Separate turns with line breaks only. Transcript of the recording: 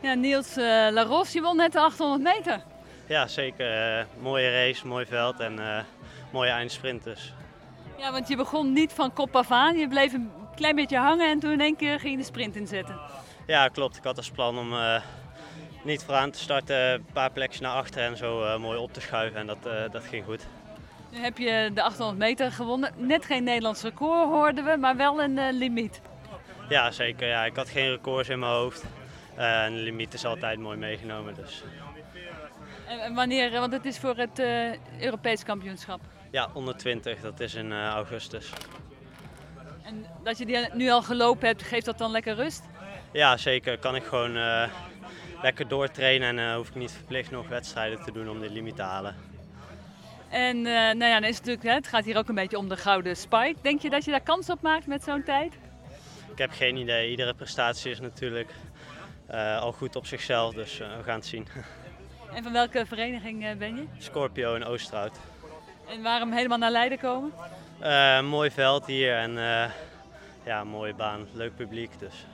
Ja, Niels eh Laros, die won net de 800 meter.
Ja, zeker. eh, mooie race, mooi veld en eh, mooie eindsprint dus.
Ja, want je begon niet van kop af aan. Je bleef een klein beetje hangen en toen in één keer ging je de sprint inzetten.
Ja, klopt. Ik had als plan om eh, niet vooraan te starten, een paar plekjes naar achter en zo eh, mooi op te schuiven. En dat, eh, dat ging goed.
Nu heb je de 800 meter gewonnen. Net geen Nederlands record hoorden we, maar wel een eh, limiet.
Ja, zeker. Ja, ik had geen records in mijn hoofd. Eh, en de limiet is altijd mooi meegenomen. Dus
En, en wanneer, eh, want het is voor het eh, Europees kampioenschap.
ja, onder 20, dat is in eh, augustus.
En dat je die nu al gelopen hebt, geeft dat dan lekker rust?
Ja, zeker. Kan ik gewoon eh, lekker doortrainen en eh, hoef ik niet verplicht nog wedstrijden te doen om die limiet te halen.
En eh, nou ja, dan is het, natuurlijk, hè, het gaat hier ook een beetje om de gouden spike. Denk je dat je daar kans op maakt met zo'n tijd?
Ik heb geen idee. Iedere prestatie is natuurlijk eh, al goed op zichzelf, dus eh, we gaan het zien.
En van welke vereniging eh, ben je?
Scorpio in Oosterhout.
En waarom helemaal naar Leiden komen?
Eh, mooi veld hier en eh, ja, mooie baan, leuk publiek. Dus